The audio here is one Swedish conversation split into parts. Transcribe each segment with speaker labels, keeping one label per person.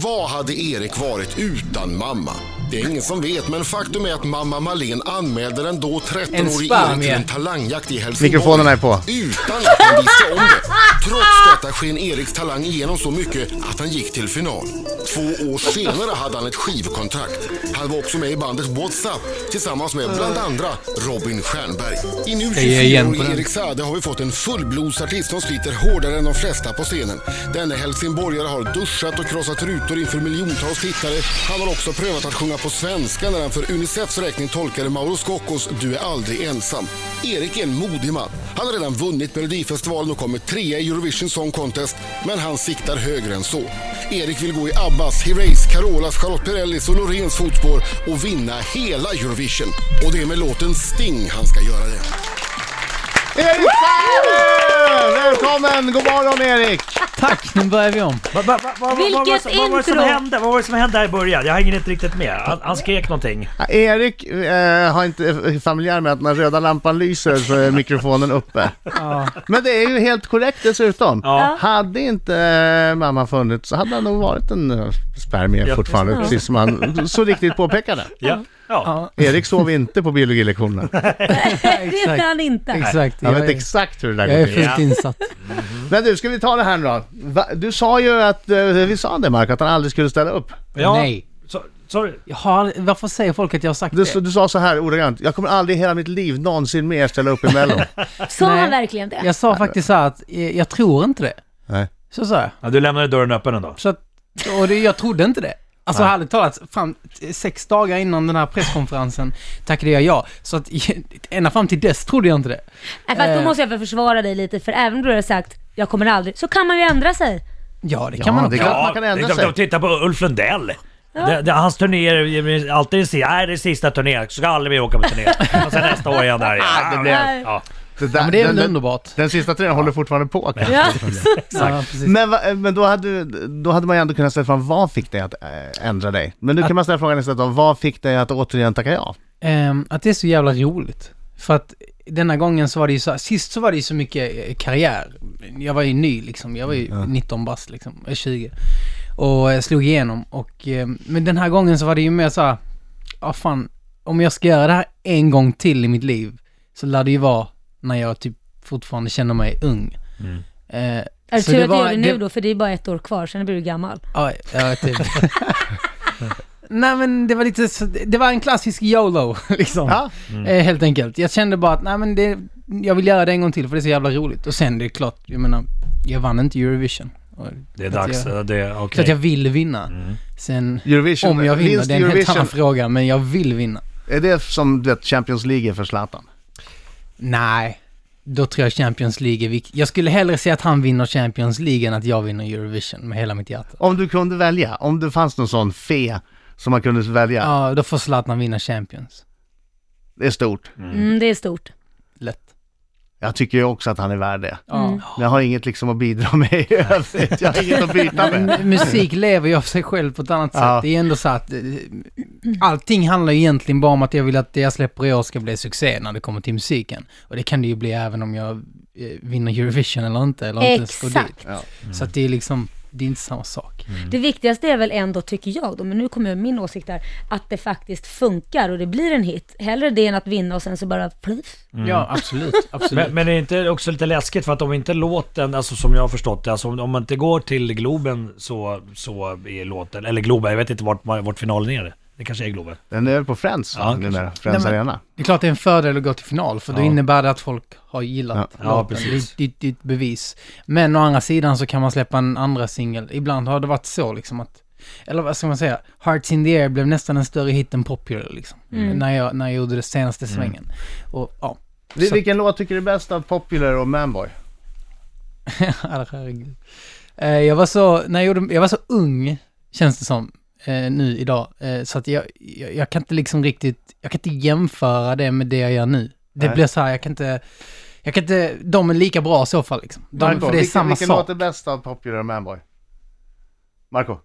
Speaker 1: Vad hade Erik varit utan mamma? Det är ingen som vet, men faktum är att mamma Malin anmälde den då
Speaker 2: En
Speaker 1: 13-årige
Speaker 2: span,
Speaker 1: Erik till
Speaker 2: ja.
Speaker 1: en talangjakt i Helsingborg.
Speaker 3: Mikrofonerna är på.
Speaker 1: Utan att han visste om det. Trots detta sken Eriks talang igenom så mycket att han gick till final. Två år senare hade han ett skivkontrakt. Han var också med i bandet WhatsApp tillsammans med bland andra Robin Stjernberg. I nu
Speaker 2: Jag ger igen på
Speaker 1: 24-årige
Speaker 2: den.
Speaker 1: Erik Saade har vi fått en fullblodsartist som sliter hårdare än de flesta på scenen. Denne helsingborgare har duschat och krossat rutor inför miljontals tittare. Han har också prövat att sjunga på svenska när han för Unicefs räkning tolkade Mauro Scoccos Du är aldrig ensam. Erik är en modig man. Han har redan vunnit Melodifestivalen och kommer trea i Eurovision Song Contest, men han siktar högre än så. Erik vill gå i Abbas, Herreys, Carolas, Charlotte Perrellis och Loreens fotspår och vinna hela Eurovision. Och det är med låten Sting han ska göra det.
Speaker 3: Erik Saade! Välkommen! God morgon Erik!
Speaker 2: Tack, nu börjar vi om.
Speaker 4: Va, va, va, va,
Speaker 5: Vilket
Speaker 4: vad, var det som- vad var det som
Speaker 5: intro!
Speaker 4: hände? Vad var det som hände här i början? Jag hänger inte riktigt med. Han, han skrek någonting.
Speaker 3: Ja, Erik eh, har inte är familjär med att när röda lampan lyser så är mikrofonen uppe. Men det är ju helt korrekt dessutom.
Speaker 4: Ja.
Speaker 3: Hade inte eh, mamma funnits så hade han nog varit en eh, spermie
Speaker 4: Ja.
Speaker 3: fortfarande, precis som han så riktigt påpekade.
Speaker 4: Ja. ja.
Speaker 3: Erik sov inte på biologilektionerna.
Speaker 5: Det vet han inte.
Speaker 2: Exakt.
Speaker 3: Han
Speaker 2: Jag
Speaker 3: vet
Speaker 2: är,
Speaker 3: exakt hur det där
Speaker 2: jag
Speaker 3: går
Speaker 2: är
Speaker 3: till.
Speaker 2: fullt insatt.
Speaker 3: Men du, ska vi ta det här nu då? Va? Du sa ju att, eh, vi sa det Mark, att han aldrig skulle ställa upp.
Speaker 4: ja.
Speaker 2: Nej.
Speaker 4: Så, sorry.
Speaker 2: Jag har, varför säger folk att jag har sagt
Speaker 3: Du,
Speaker 2: det?
Speaker 3: sa- du sa så här ordagrant, jag kommer aldrig i hela mitt liv någonsin mer ställa upp i Mello.
Speaker 5: Sa
Speaker 2: Nej.
Speaker 5: han verkligen det?
Speaker 2: Jag sa faktiskt så här att eh, jag tror inte det.
Speaker 3: Nej.
Speaker 2: Så sa jag.
Speaker 4: Ja, du lämnade dörren öppen ändå.
Speaker 2: Så att, och det, jag trodde inte det. Alltså ärligt talat, fram, t- sex dagar innan den här presskonferensen tackade jag ja. Så att ända fram till dess trodde jag inte det.
Speaker 5: Nej, fast då
Speaker 2: Eh.
Speaker 5: måste jag väl försvara dig lite, för även om du har sagt jag kommer aldrig, så kan man ju ändra sig.
Speaker 2: Ja, det kan
Speaker 3: Ja,
Speaker 2: man
Speaker 3: det
Speaker 2: också.
Speaker 3: kan- man ändra
Speaker 4: det är
Speaker 3: sig.
Speaker 4: klart, att titta på Ulf Lundell. Det, det, hans turnéer, alltid det sista, nej det är sista turnén, ska aldrig mer åka på turné. Och sen nästa år igen där. Ja,
Speaker 3: det
Speaker 5: blir-
Speaker 4: Ja.
Speaker 3: Det där-
Speaker 2: Men det är
Speaker 3: den-
Speaker 2: väl
Speaker 3: den-
Speaker 2: underbart.
Speaker 3: Den sista tröjan håller fortfarande på. kanske.
Speaker 5: Ja.
Speaker 2: Ja, precis.
Speaker 3: Men, va- eh, men då, hade, då hade man ju ändå kunnat ställa frågan, vad fick dig att äh, ändra dig? Men nu kan man ställa frågan istället av, vad fick dig att återigen tacka ja?
Speaker 2: Ehm, att det är så jävla roligt. För att denna gången så var det ju så, sist så var det ju så mycket eh, karriär. Jag var ju ny liksom, jag var ju 19 bast liksom, eh, 20. Och eh, slog igenom och, ehm, men den här gången så var det ju mer så här, ja fan, om jag ska göra det här en gång till i mitt liv så lär det ju vara när jag typ fortfarande känner mig ung. Eh,
Speaker 5: Är det
Speaker 2: så
Speaker 5: tur att du
Speaker 2: var-
Speaker 5: gör Alltså, det nu då, för det är bara ett år kvar, sen blir du gammal.
Speaker 2: Ja, ja typ. nej men det var lite, så- det var en klassisk YOLO liksom.
Speaker 3: Ja.
Speaker 2: Eh, helt enkelt. Jag kände bara att nej men det, jag vill göra det en gång till för det är så jävla roligt. Och sen det är klart, jag menar, jag vann inte Eurovision. Och
Speaker 4: Det är
Speaker 2: att
Speaker 4: dags.
Speaker 2: Jag,
Speaker 4: ja, Det, är-
Speaker 2: så
Speaker 4: okej.
Speaker 2: att jag vill vinna. Sen,
Speaker 3: Eurovision, eh,
Speaker 2: om jag vinner,
Speaker 3: vinst
Speaker 2: det är en helt
Speaker 3: Eurovision.
Speaker 2: annan fråga, men jag vill vinna.
Speaker 3: Är det som du vet, Champions League är för Zlatan?
Speaker 2: Nej, då tror jag Champions League är viktigt. Jag skulle hellre se att han vinner Champions League än att jag vinner Eurovision med hela mitt hjärta.
Speaker 3: Om du kunde välja, om det fanns någon sån fe som man kunde välja,
Speaker 2: Ja, då får Zlatan vinna Champions.
Speaker 3: det är stort.
Speaker 5: Mm, det är stort.
Speaker 2: Lätt. Mm.
Speaker 3: Jag tycker ju också att han är värd det.
Speaker 2: Ja.
Speaker 3: Men jag har inget liksom att bidra med i övrigt, jag har inget att byta med.
Speaker 2: M- Musik lever ju av sig själv på ett annat sätt.
Speaker 3: Ja.
Speaker 2: Det är ändå så att eh, allting handlar ju egentligen bara om att jag vill att det jag släpper i år ska bli succé när det kommer till musiken. Och det kan det ju bli även om jag eh, vinner Eurovision eller inte. Eller inte ens går dit.
Speaker 5: Exakt.
Speaker 2: Så att det är liksom, det är inte samma sak.
Speaker 5: Det viktigaste är väl ändå, tycker jag då, men nu kommer jag med min åsikt där, att det faktiskt funkar och det blir en hit. Hellre det än att vinna och sen så bara pliff.
Speaker 2: Ja, absolut. absolut.
Speaker 4: Men, men det är inte också lite läskigt för att om inte låten, alltså som jag har förstått det, alltså om, om man inte går till Globen så, så är låten, eller Globen, jag vet inte vart, vart finalen är. Det kanske är Globen.
Speaker 3: Den är på Friends
Speaker 4: Ja,
Speaker 3: numera,
Speaker 4: kanske.
Speaker 3: Friends
Speaker 2: Nej, men-
Speaker 3: Arena.
Speaker 2: det är klart det är en fördel att gå till final, för då
Speaker 4: Ja.
Speaker 2: innebär det att folk har gillat
Speaker 3: Ja.
Speaker 4: Ja,
Speaker 2: låten. Det
Speaker 4: precis.
Speaker 2: är- det är- det är ett bevis. Men å andra sidan så kan man släppa en andra singel. Ibland har det varit så liksom att, eller vad ska man säga, Hearts in the Air blev nästan en större hit än Popular liksom.
Speaker 4: Mm.
Speaker 2: När, jag, när jag gjorde det senaste svängen. Och ja,
Speaker 3: Vi-
Speaker 2: Så-
Speaker 3: Vilken låt tycker du är bäst av Popular och Manboy?
Speaker 2: Alla, herregud. Eh, jag var så, när jag gjorde, jag var så ung, känns det som, eh, nu idag. Eh, så att jag, jag, jag kan inte liksom riktigt, jag kan inte jämföra det med det jag gör nu. Det
Speaker 3: Nej.
Speaker 2: blir så här, jag kan inte, jag kan inte, de är lika bra i så fall liksom. De,
Speaker 3: Marco,
Speaker 2: för det är
Speaker 3: vilken,
Speaker 2: samma
Speaker 3: vilken
Speaker 2: sak.
Speaker 3: låt är bäst av Popular och Manboy? Marco,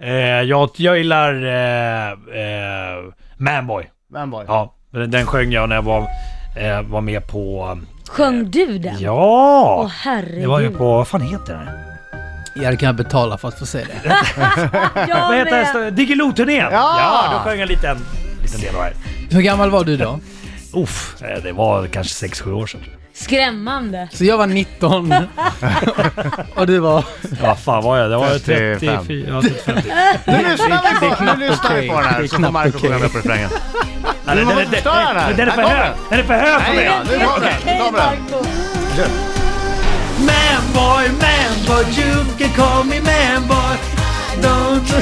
Speaker 4: Eh, jag, jag gillar eh, eh, Manboy.
Speaker 3: Manboy.
Speaker 4: Ja, den den sjöng jag när jag var, eh, var med på...
Speaker 5: Sjöng du den?
Speaker 4: Ja!
Speaker 5: Åh herregud.
Speaker 4: det var ju på... Vad fan heter den?
Speaker 2: Ja, det kan jag betala för att få se det.
Speaker 5: Jag
Speaker 4: Vad heter
Speaker 5: med.
Speaker 4: hästen? Diggiloo-turnén!
Speaker 3: Ja!
Speaker 4: då sjöng jag en liten, liten del av det här.
Speaker 2: Hur gammal var du då?
Speaker 4: Uff, eh, det var kanske 6-7 år sedan.
Speaker 5: Skrämmande.
Speaker 2: Så jag var 19 och du var...
Speaker 4: Ja, vad fan var jag? Det var
Speaker 3: 35.
Speaker 4: 34... Ja, 35.
Speaker 3: Nu lyssnar vi på, nu lyssnar vi på den här,
Speaker 2: Det är
Speaker 3: så får
Speaker 2: knappt
Speaker 3: Marco
Speaker 2: okej.
Speaker 3: sjunga med på refrängen.
Speaker 4: Nej, den, den, den, den,
Speaker 3: förstör den här.
Speaker 4: den är för
Speaker 3: Här kommer
Speaker 4: hög! Den är för hög för
Speaker 3: Nej,
Speaker 4: mig!
Speaker 3: ja, nu kommer den. Nu kommer den.
Speaker 4: Manboy, manboy, you can call me manboy Don't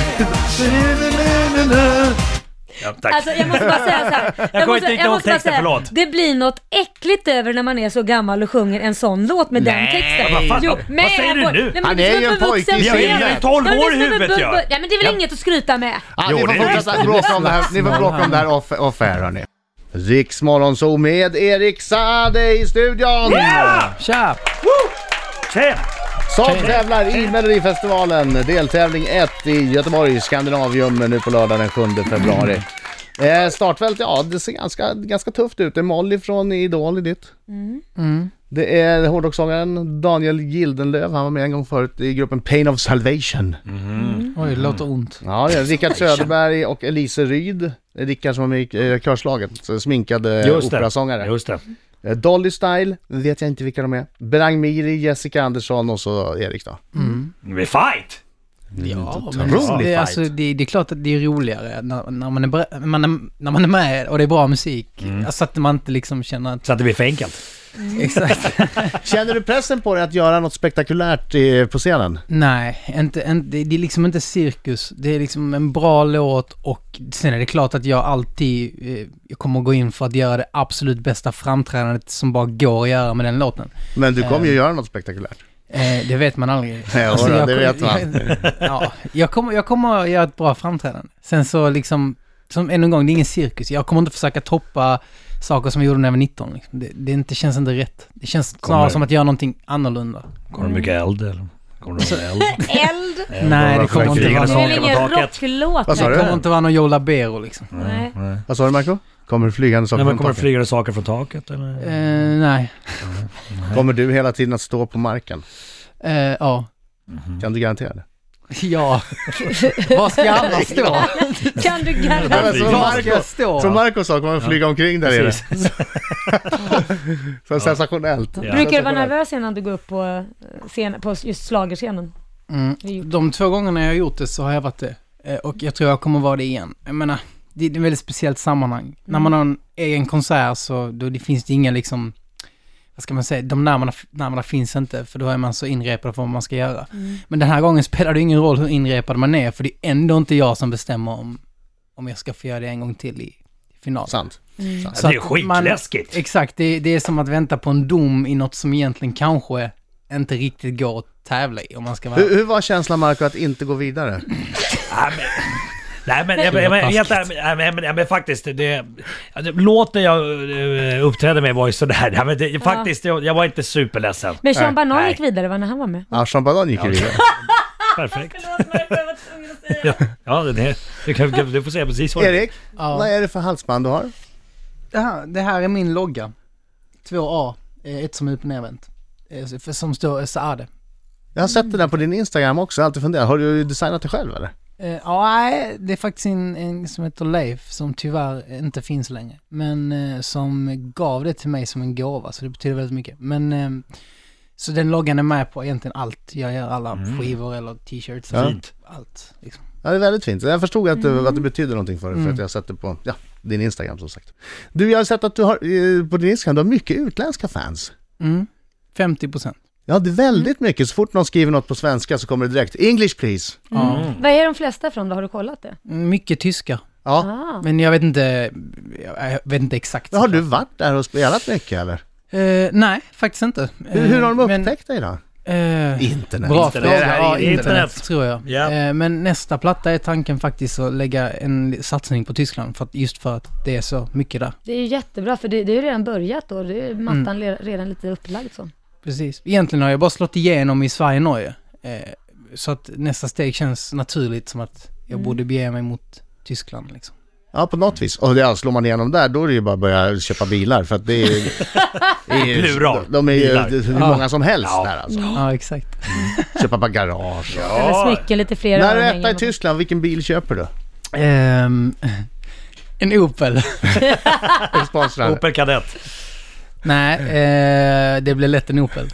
Speaker 4: ja, tack.
Speaker 5: Alltså jag måste bara säga så här. Jag,
Speaker 4: kommer
Speaker 5: måste,
Speaker 4: inte riktigt ihåg texten, förlåt.
Speaker 5: Det blir något äckligt över när man är så gammal och sjunger en sån låt med den texten.
Speaker 4: vad fan-
Speaker 5: Jo,
Speaker 4: vad säger du
Speaker 5: boy.
Speaker 4: nu?
Speaker 5: Nej,
Speaker 3: Han
Speaker 5: men liksom det
Speaker 3: är
Speaker 5: som
Speaker 3: ju en
Speaker 5: vuxen
Speaker 3: pojke i
Speaker 5: ser-
Speaker 4: Jag är ju 12
Speaker 5: Men
Speaker 4: år i
Speaker 5: lyssna med
Speaker 4: huvudet
Speaker 5: bu-
Speaker 4: jag.
Speaker 5: bu- Ja, men det är väl inget att skryta med?
Speaker 3: Ja,
Speaker 4: Jo,
Speaker 3: ni får
Speaker 4: det är
Speaker 3: fortsätta bråka om det här, ni får bråka om det här off, off air hörni. Riks Morgonzoo med Erik Saade i studion!
Speaker 4: Ja!
Speaker 2: Tja!
Speaker 4: Tjena!
Speaker 3: Som tävlar i Melodifestivalen, deltävling 1 i Göteborg, Skandinavium, nu på lördag den 7 februari. Eh, startfält, ja det ser ganska, ganska tufft ut. Det är Molly från Idol i ditt.
Speaker 4: Mm.
Speaker 3: Det är hårdrocksångaren Daniel Gildenlöv, han var med en gång förut i gruppen Pain of Salvation.
Speaker 4: Mm.
Speaker 2: Oj, det låter ont.
Speaker 3: Ja, det är Rickard Söderberg och Elise Ryd. Det är Rickard som var med i eh, Körslaget, så sminkade eh,
Speaker 4: Just det.
Speaker 3: operasångare.
Speaker 4: Just det.
Speaker 3: Eh, Dolly Style, vet jag inte vilka de är. Berang Miri, Jessica Andersson och så Erik då.
Speaker 4: Vi fight!
Speaker 2: Ja, men
Speaker 3: Otrolig
Speaker 2: det, det,
Speaker 3: fight.
Speaker 2: är alltså, det, det är klart att det är roligare när, när, man är, bre- man är, när man är med och det är bra musik. Alltså att man inte liksom känner att...
Speaker 4: Så att det blir för enkelt.
Speaker 2: Exakt.
Speaker 3: Känner du pressen på dig att göra något spektakulärt eh, på scenen?
Speaker 2: Nej, inte, inte, det- det är liksom inte cirkus. Det är liksom en bra låt och sen är det klart att jag alltid eh, jag kommer gå in för att göra det absolut bästa framträdandet som bara går att göra med den låten.
Speaker 3: Men du kommer ju göra något spektakulärt.
Speaker 2: Eh, det vet man aldrig. Alltså,
Speaker 3: Ja, det
Speaker 2: jag, kom-
Speaker 3: vet man.
Speaker 2: Jag, ja, jag, kommer, jag kommer att göra ett bra framträdande. Sen så liksom, som ännu en gång, det är ingen cirkus. Jag kommer inte försöka toppa saker som jag gjorde när jag var 19. Liksom. Det, det är inte, känns inte rätt. Det känns snarare
Speaker 4: Kommer-
Speaker 2: som att göra någonting annorlunda.
Speaker 4: Kommer det mycket eld eller? Kommer det vara eld?
Speaker 5: Eld.
Speaker 2: Nej, Mm. Alltså, det kommer inte
Speaker 4: fyrverkerier
Speaker 2: vara någon,
Speaker 4: och sånt. på
Speaker 5: Det är väl ingen
Speaker 4: taket.
Speaker 5: rocklåt?
Speaker 3: Vad sa
Speaker 5: men-
Speaker 2: det
Speaker 3: du?
Speaker 2: kommer inte vara någon Joe Labero liksom.
Speaker 5: Nej.
Speaker 3: Vad sa du Marco? Kommer det flygande saker
Speaker 4: Nej, men
Speaker 3: från
Speaker 4: kommer det
Speaker 3: taket?
Speaker 4: flygande saker från taket eller?
Speaker 2: Eh, nej.
Speaker 3: Kommer du hela tiden att stå på marken?
Speaker 2: Eh, ja.
Speaker 4: Mm.
Speaker 3: Kan du garantera det?
Speaker 2: Ja. Var ska jag annars stå?
Speaker 5: Kan du
Speaker 3: Ja, men
Speaker 5: garantera?
Speaker 3: så
Speaker 2: Var ska
Speaker 3: Marco-
Speaker 2: jag stå?
Speaker 3: Som Marco sa, kommer det flyga omkring där
Speaker 4: Precis.
Speaker 3: inne. Så sensationellt.
Speaker 4: Ja.
Speaker 5: Brukar du vara nervös innan du går upp på, eh, scen, på just schlagerscenen?
Speaker 2: Mm. De två gångerna jag har gjort det så har jag varit det. Eh, Och jag tror jag kommer vara det igen. Jag menar, det är ett väldigt speciellt sammanhang. När man har en egen konsert så då det finns det inga liksom, vad ska man säga, de närmarna, närmarna finns inte för då är man så inrepad för vad man ska göra. Men den här gången spelar det ingen roll hur inrepad man är för det är ändå inte jag som bestämmer om, om jag ska få göra det en gång till i final.
Speaker 3: Sant. Sant.
Speaker 2: Så
Speaker 4: Det är
Speaker 2: att man-
Speaker 4: skitläskigt.
Speaker 2: Exakt, det, det är som att vänta på en dom i något som egentligen kanske inte riktigt går att tävla i om man ska vara
Speaker 3: Hur, hur var känslan Marco att inte gå vidare?
Speaker 4: Nej, men- Nej men, jag, jag, men, helt ärligt, nej, men, men, men faktiskt, det, ja, det- låten jag eh, uppträdde med var ju sådär. Ja, men det, Faktiskt, jag, jag var inte superledsen.
Speaker 5: Men Sean Banan
Speaker 4: Nej.
Speaker 5: gick vidare va, när han var med?
Speaker 3: Ja, Sean Banan gick ju vidare.
Speaker 4: Perfekt. Ja, ja det, det, du, kan, du får säga precis vad
Speaker 3: Erik,
Speaker 2: Ja.
Speaker 3: vad är det för halsband du har?
Speaker 2: Det här, det här är min logga. 2A, eh, ett som är upp och nervänt. Eh, för- Som står eh, Saade.
Speaker 3: Jag har sett det där på din Instagram också, jag har alltid funderat. Har du designat det själv eller?
Speaker 2: Eh, Ja, nej, det är faktiskt en, en som heter Leif som tyvärr inte finns längre. Men eh, som gav det till mig som en gåva, så det betyder väldigt mycket. Men eh, så den loggan är med på egentligen allt. Jag gör alla skivor eller t-shirts.
Speaker 3: Mm. Ja.
Speaker 2: Fint. Allt. Liksom.
Speaker 3: Ja, det är väldigt fint. Jag förstod att, det- att det betyder någonting för dig, för att jag har sett det på ja, din Instagram som sagt. Du, jag har sett att du har, eh, på din Instagram, du har mycket utländska fans.
Speaker 2: Mm. 50 procent.
Speaker 3: Ja, det är väldigt mycket. Så fort någon skriver något på svenska så kommer det direkt, English please.
Speaker 2: Ja.
Speaker 4: Mm.
Speaker 5: Var är de flesta från då? Har du kollat det?
Speaker 2: Mycket tyskar.
Speaker 3: Ja.
Speaker 5: Ah.
Speaker 2: Men jag vet inte, jag vet inte exakt.
Speaker 3: Har du varit där och spelat mycket eller?
Speaker 2: Eh, nej, faktiskt inte.
Speaker 3: Hur, hur har de
Speaker 2: Eh, men-
Speaker 3: upptäckt dig då?
Speaker 2: Eh,
Speaker 3: Internet.
Speaker 2: Bra
Speaker 4: Internet. Det
Speaker 2: fråga.
Speaker 4: är det här
Speaker 2: ja,
Speaker 4: internet.
Speaker 2: internet, tror jag.
Speaker 4: Ja.
Speaker 2: Eh, Men nästa platta är tanken faktiskt att lägga en li- satsning på Tyskland, för att, just för att det är så mycket där.
Speaker 5: Det är ju jättebra för det, det är ju redan börjat då. Det är mattan le- redan lite upplagd så.
Speaker 2: Precis. Egentligen har jag bara slått igenom i Sverige och Norge. Eh, Så att nästa steg känns naturligt som att jag borde bege mig mot Tyskland liksom.
Speaker 3: Ja, på något vis. Och det, slår man igenom där, då är det ju bara att börja köpa bilar. För att det är, ju- det är ju,
Speaker 4: Plural.
Speaker 3: de, de är ju
Speaker 4: Bilar.
Speaker 3: hur många som helst
Speaker 4: Ja.
Speaker 3: där alltså.
Speaker 2: Ja, exakt.
Speaker 3: Köpa bara garage.
Speaker 5: Eller smycken, lite fler
Speaker 3: När du är
Speaker 5: örhängen
Speaker 3: etta i
Speaker 5: och-
Speaker 3: Tyskland, vilken bil köper du?
Speaker 2: Ehm, en Opel.
Speaker 3: Är du sponsrad?
Speaker 4: Opel Kadett.
Speaker 2: Nej, eh, det blir lätt en Opel.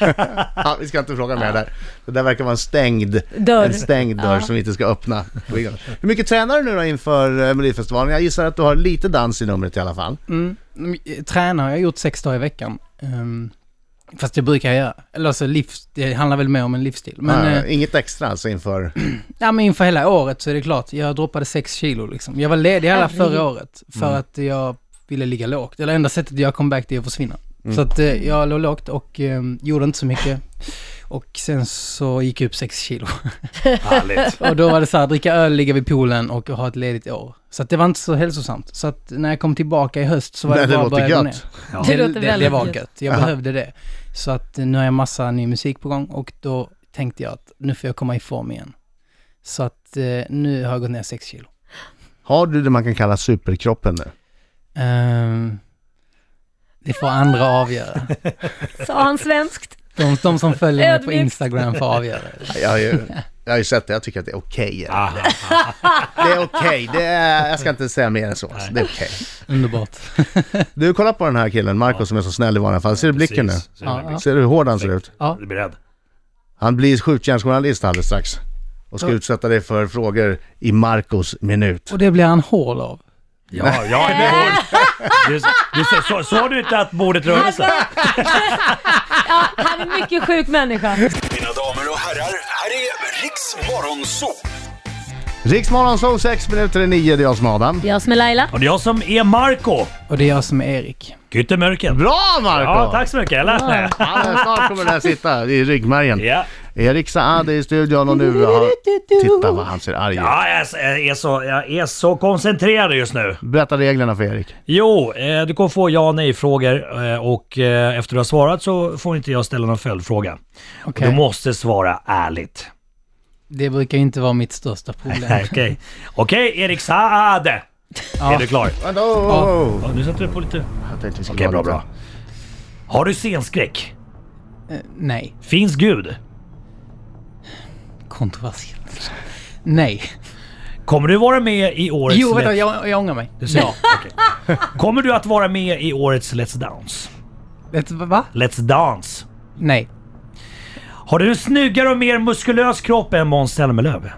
Speaker 3: Ja, vi ska inte fråga mer där. Det där verkar vara en stängd
Speaker 5: Dörr.
Speaker 3: En stängd dörr
Speaker 5: Ja.
Speaker 3: som vi inte ska öppna. Hur mycket tränar du nu då inför eh, Melodifestivalen? Jag gissar att du har lite dans i numret i alla fall.
Speaker 2: Mm. mm, Tränar har jag gjort sex dagar i veckan. Ehm, fast det brukar jag göra. Eller alltså, livs, det handlar väl mer om en livsstil. Men,
Speaker 3: Ja,
Speaker 2: eh,
Speaker 3: Inget extra alltså inför...
Speaker 2: Ja men inför hela året så är det klart, jag droppade 6 kilo liksom. Jag var ledig hela
Speaker 5: Herregud.
Speaker 2: förra året för
Speaker 3: Mm.
Speaker 2: att jag ville ligga lågt. Eller enda sättet jag kom back till är att försvinna.
Speaker 3: Mm.
Speaker 2: Så att eh, jag låg lågt och eh, gjorde inte så mycket. Och sen så gick jag upp 6 kilo.
Speaker 4: Härligt.
Speaker 2: Och då var det så här, dricka öl, ligga vid poolen och ha ett ledigt år. Så att det var inte så hälsosamt. Så att när jag kom tillbaka i höst så var
Speaker 3: Nej,
Speaker 2: det
Speaker 3: det
Speaker 2: bara att
Speaker 3: låter
Speaker 2: börja gå
Speaker 3: gött.
Speaker 2: ner.
Speaker 4: Ja.
Speaker 5: Det låter
Speaker 2: det, det
Speaker 5: väldigt
Speaker 2: var
Speaker 5: gött.
Speaker 2: gött. Jag behövde det. Så att nu har jag massa ny musik på gång och då tänkte jag att nu får jag komma i form igen. Så att eh, nu har jag gått ner 6 kilo.
Speaker 3: Har du det man kan kalla superkroppen nu?
Speaker 2: Ehm, det får andra avgöra.
Speaker 5: Sa han svenskt?
Speaker 2: De, de som följer mig på
Speaker 5: Ödmjukt.
Speaker 2: Instagram får avgöra.
Speaker 3: Jag har ju, jag har ju sett det, jag tycker att det är okej.
Speaker 4: Ah,
Speaker 3: Det är okej, det är, jag ska inte säga mer än så. Alltså. Det är okej.
Speaker 2: Underbart.
Speaker 3: Du, kolla på den här killen, Marco, som är så snäll i vanliga fall. Ser du blicken nu?
Speaker 4: precis. Så
Speaker 2: Ja, ja.
Speaker 3: Ser du hur hård han ser ut?
Speaker 2: Ja.
Speaker 4: Du blir rädd.
Speaker 3: Han blir skjutjärnsjournalist alldeles strax. Och ska utsätta dig för frågor i Marcos minut.
Speaker 2: Och det blir han hål av.
Speaker 4: Ja, ja, det är hårt. Du, du, ser- så, såg du inte att bordet rörde sig?
Speaker 5: Ja, han är en mycket sjuk människa.
Speaker 6: Mina damer och herrar, här är Riks Morgonzoo!
Speaker 3: Riksmorgon, så sex minuter i nio, det är jag som är Adam.
Speaker 5: Jag som är Laila.
Speaker 4: Och det är jag som är Marco
Speaker 2: Och det är jag som är Erik.
Speaker 4: Gyttemörken.
Speaker 3: Bra Marco!
Speaker 4: Ja, tack så mycket. Jag lärde mig.
Speaker 3: Ja, snart kommer den här sitta i ryggmärgen.
Speaker 4: Ja.
Speaker 3: Erik Saade i studion och nu har... Titta vad han ser arg ut.
Speaker 4: Ja, jag s- jag är, så, jag är så koncentrerad just nu.
Speaker 3: Berätta reglerna för Erik.
Speaker 4: Jo, eh, du kommer få ja och nej-frågor eh, och eh, efter du har svarat så får inte jag ställa någon följdfråga.
Speaker 2: Okej.
Speaker 4: Du måste svara ärligt.
Speaker 2: Det brukar ju inte vara mitt största
Speaker 4: Nej,
Speaker 2: problem.
Speaker 4: Okej, Okej, Erik Saade. Är du klar?
Speaker 3: Vadå?
Speaker 4: Ja, nu satte du på lite... Okej,
Speaker 3: Jag tänkte vi skulle vara
Speaker 4: bra, bra. Har du scenskräck?
Speaker 2: Eh, Nej.
Speaker 4: Finns Gud?
Speaker 2: Kontroversiellt. Nej.
Speaker 4: Kommer du vara med i årets...
Speaker 2: Jo, vänta,
Speaker 4: Let-
Speaker 2: jag, jag ångrar mig.
Speaker 4: Du säger, okej. Kommer du att vara med i årets Let's Dance?
Speaker 2: Vet du Va?
Speaker 4: Let's Dance.
Speaker 2: Nej.
Speaker 4: Har du en snyggare och mer muskulös kropp än Måns Zelmerlöw?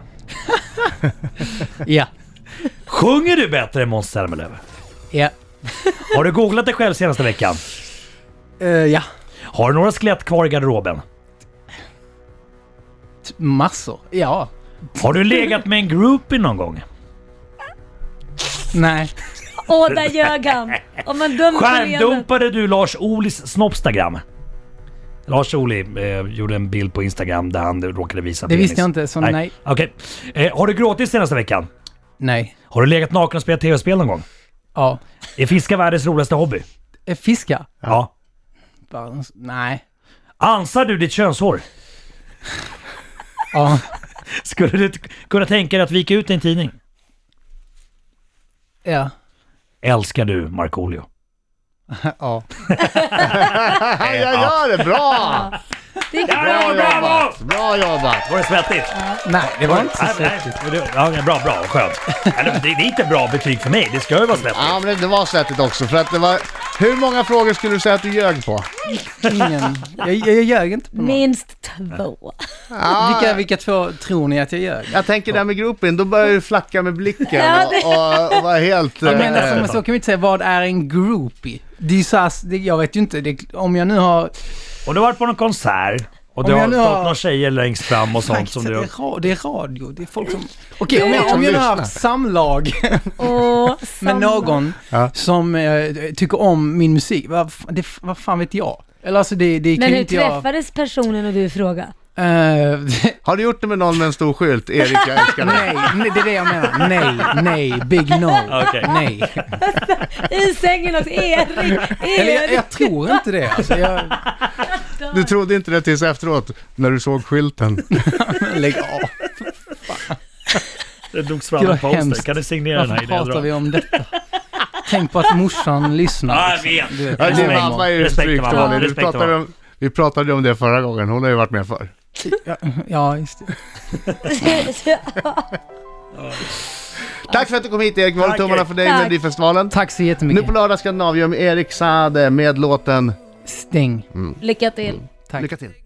Speaker 2: Ja.
Speaker 4: Sjunger du bättre än Måns Zelmerlöw?
Speaker 2: Ja.
Speaker 4: Har du googlat dig själv senaste veckan?
Speaker 2: Eh, ja.
Speaker 4: Har du några skelett kvar i garderoben?
Speaker 2: T- Massor. Ja.
Speaker 4: Har du legat med en groupie någon gång?
Speaker 2: Nej.
Speaker 5: Åh, där ljög han. Om man dömer på leendet.
Speaker 4: Stjärndumpade du Lars Ohlys snoppstagram? Lars Ohly eh, gjorde en bild på Instagram där han råkade visa
Speaker 2: Det visste jag inte, så nej.
Speaker 4: Okej. Eh, har du gråtit senaste veckan?
Speaker 2: Nej.
Speaker 4: Har du legat naken och spelat tv-spel någon gång?
Speaker 2: Ja.
Speaker 4: Är fiska världens roligaste hobby?
Speaker 2: Eh, Fiska?
Speaker 4: Ja.
Speaker 2: Bara, nej.
Speaker 4: Ansar du ditt könshår?
Speaker 2: Ja.
Speaker 4: Skulle du t- kunna tänka dig att vika ut i en tidning?
Speaker 2: Ja.
Speaker 4: Älskar du Markoolio?
Speaker 2: ja.
Speaker 3: Ja, jag gör det! Bra!
Speaker 5: Det gick bra.
Speaker 4: Ja, bravo!
Speaker 3: Bra jobbat!
Speaker 4: Var det svettigt?
Speaker 2: Nej, det var inte så
Speaker 4: Nej, nej,
Speaker 2: svettigt.
Speaker 4: men det- Ja, bra, bra, skönt. Eller, det, det är inte bra betyg för mig, det ska ju vara svettigt.
Speaker 3: Ja, men det var svettigt också för att det var... Hur många frågor skulle du säga att du ljög på?
Speaker 2: Ingen. Jag, jag, jag ljög inte på någon.
Speaker 5: Minst två.
Speaker 2: Vilka, vilka två tror ni att jag ljög?
Speaker 3: Jag tänker det här med grouping, då börjar du flacka med blicken
Speaker 5: Ja,
Speaker 3: och,
Speaker 5: det-
Speaker 3: och, och vara helt...
Speaker 2: Jag menar,
Speaker 3: eh,
Speaker 2: alltså, men så kan vi inte säga, vad är en groupie? Det är ju så här, det, jag vet ju inte, det, om jag nu har...
Speaker 4: Och du har varit på någon konsert och
Speaker 2: Om
Speaker 4: du har
Speaker 2: jag nu
Speaker 4: stått
Speaker 2: har-
Speaker 4: några tjejer längst fram och sånt som
Speaker 2: det,
Speaker 4: du...
Speaker 2: är ra, det är radio, det är folk som... Okej, om jag,
Speaker 3: som
Speaker 2: om jag nu har
Speaker 3: lyssnar.
Speaker 2: haft samlag
Speaker 5: Åh,
Speaker 2: med
Speaker 5: samma.
Speaker 2: någon
Speaker 3: Ja.
Speaker 2: som eh, tycker om min musik, vad, f- det, vad fan vet jag? Eller alltså det, det kan
Speaker 5: Men
Speaker 2: ju
Speaker 5: hur
Speaker 2: inte jag...
Speaker 5: träffades personen och du i fråga?
Speaker 2: Eh,
Speaker 3: Har du gjort det med någon med en stor skylt? Erik, jag älskar dig.
Speaker 2: Nej, nej, det är det jag menar. Nej, nej, big no.
Speaker 4: Okej.
Speaker 2: Nej.
Speaker 5: I sängen också. Erik,
Speaker 2: Eller jag,
Speaker 5: Erik.
Speaker 2: jag tror inte det. Alltså, jag,
Speaker 3: Du trodde inte det tills efteråt, när du såg skylten.
Speaker 2: lägg av.
Speaker 4: Det drogs fram en
Speaker 2: Gud, vad
Speaker 4: poster.
Speaker 2: hemskt.
Speaker 4: Kan du signera den här
Speaker 2: Varför
Speaker 4: innan jag
Speaker 2: pratar vi
Speaker 4: drar?
Speaker 2: om detta? Tänk på att morsan lyssnar.
Speaker 4: Ja, jag vet.
Speaker 2: liksom. Du vet.
Speaker 4: Ja,
Speaker 3: Ja,
Speaker 4: det
Speaker 3: din
Speaker 4: är
Speaker 3: Alltså, mamma är ju
Speaker 4: Respekt,
Speaker 3: strykt
Speaker 4: mamma.
Speaker 3: dålig. Du
Speaker 4: Respekt,
Speaker 3: pratade
Speaker 4: mamma.
Speaker 3: om, vi pratade om det förra gången, hon har ju varit med förr.
Speaker 2: Ja, just det.
Speaker 3: Tack för att du kom hit Erik, vi håller
Speaker 4: Tack,
Speaker 3: tummarna
Speaker 4: Erik.
Speaker 3: för dig i
Speaker 5: Tack.
Speaker 3: Melodifestivalen.
Speaker 2: Tack så
Speaker 3: Nu
Speaker 2: jättemycket.
Speaker 3: på lördag Skandinavium, Erik Saade med låten
Speaker 2: Stäng.
Speaker 5: Lycka till.
Speaker 2: Tack.
Speaker 3: Lycka till.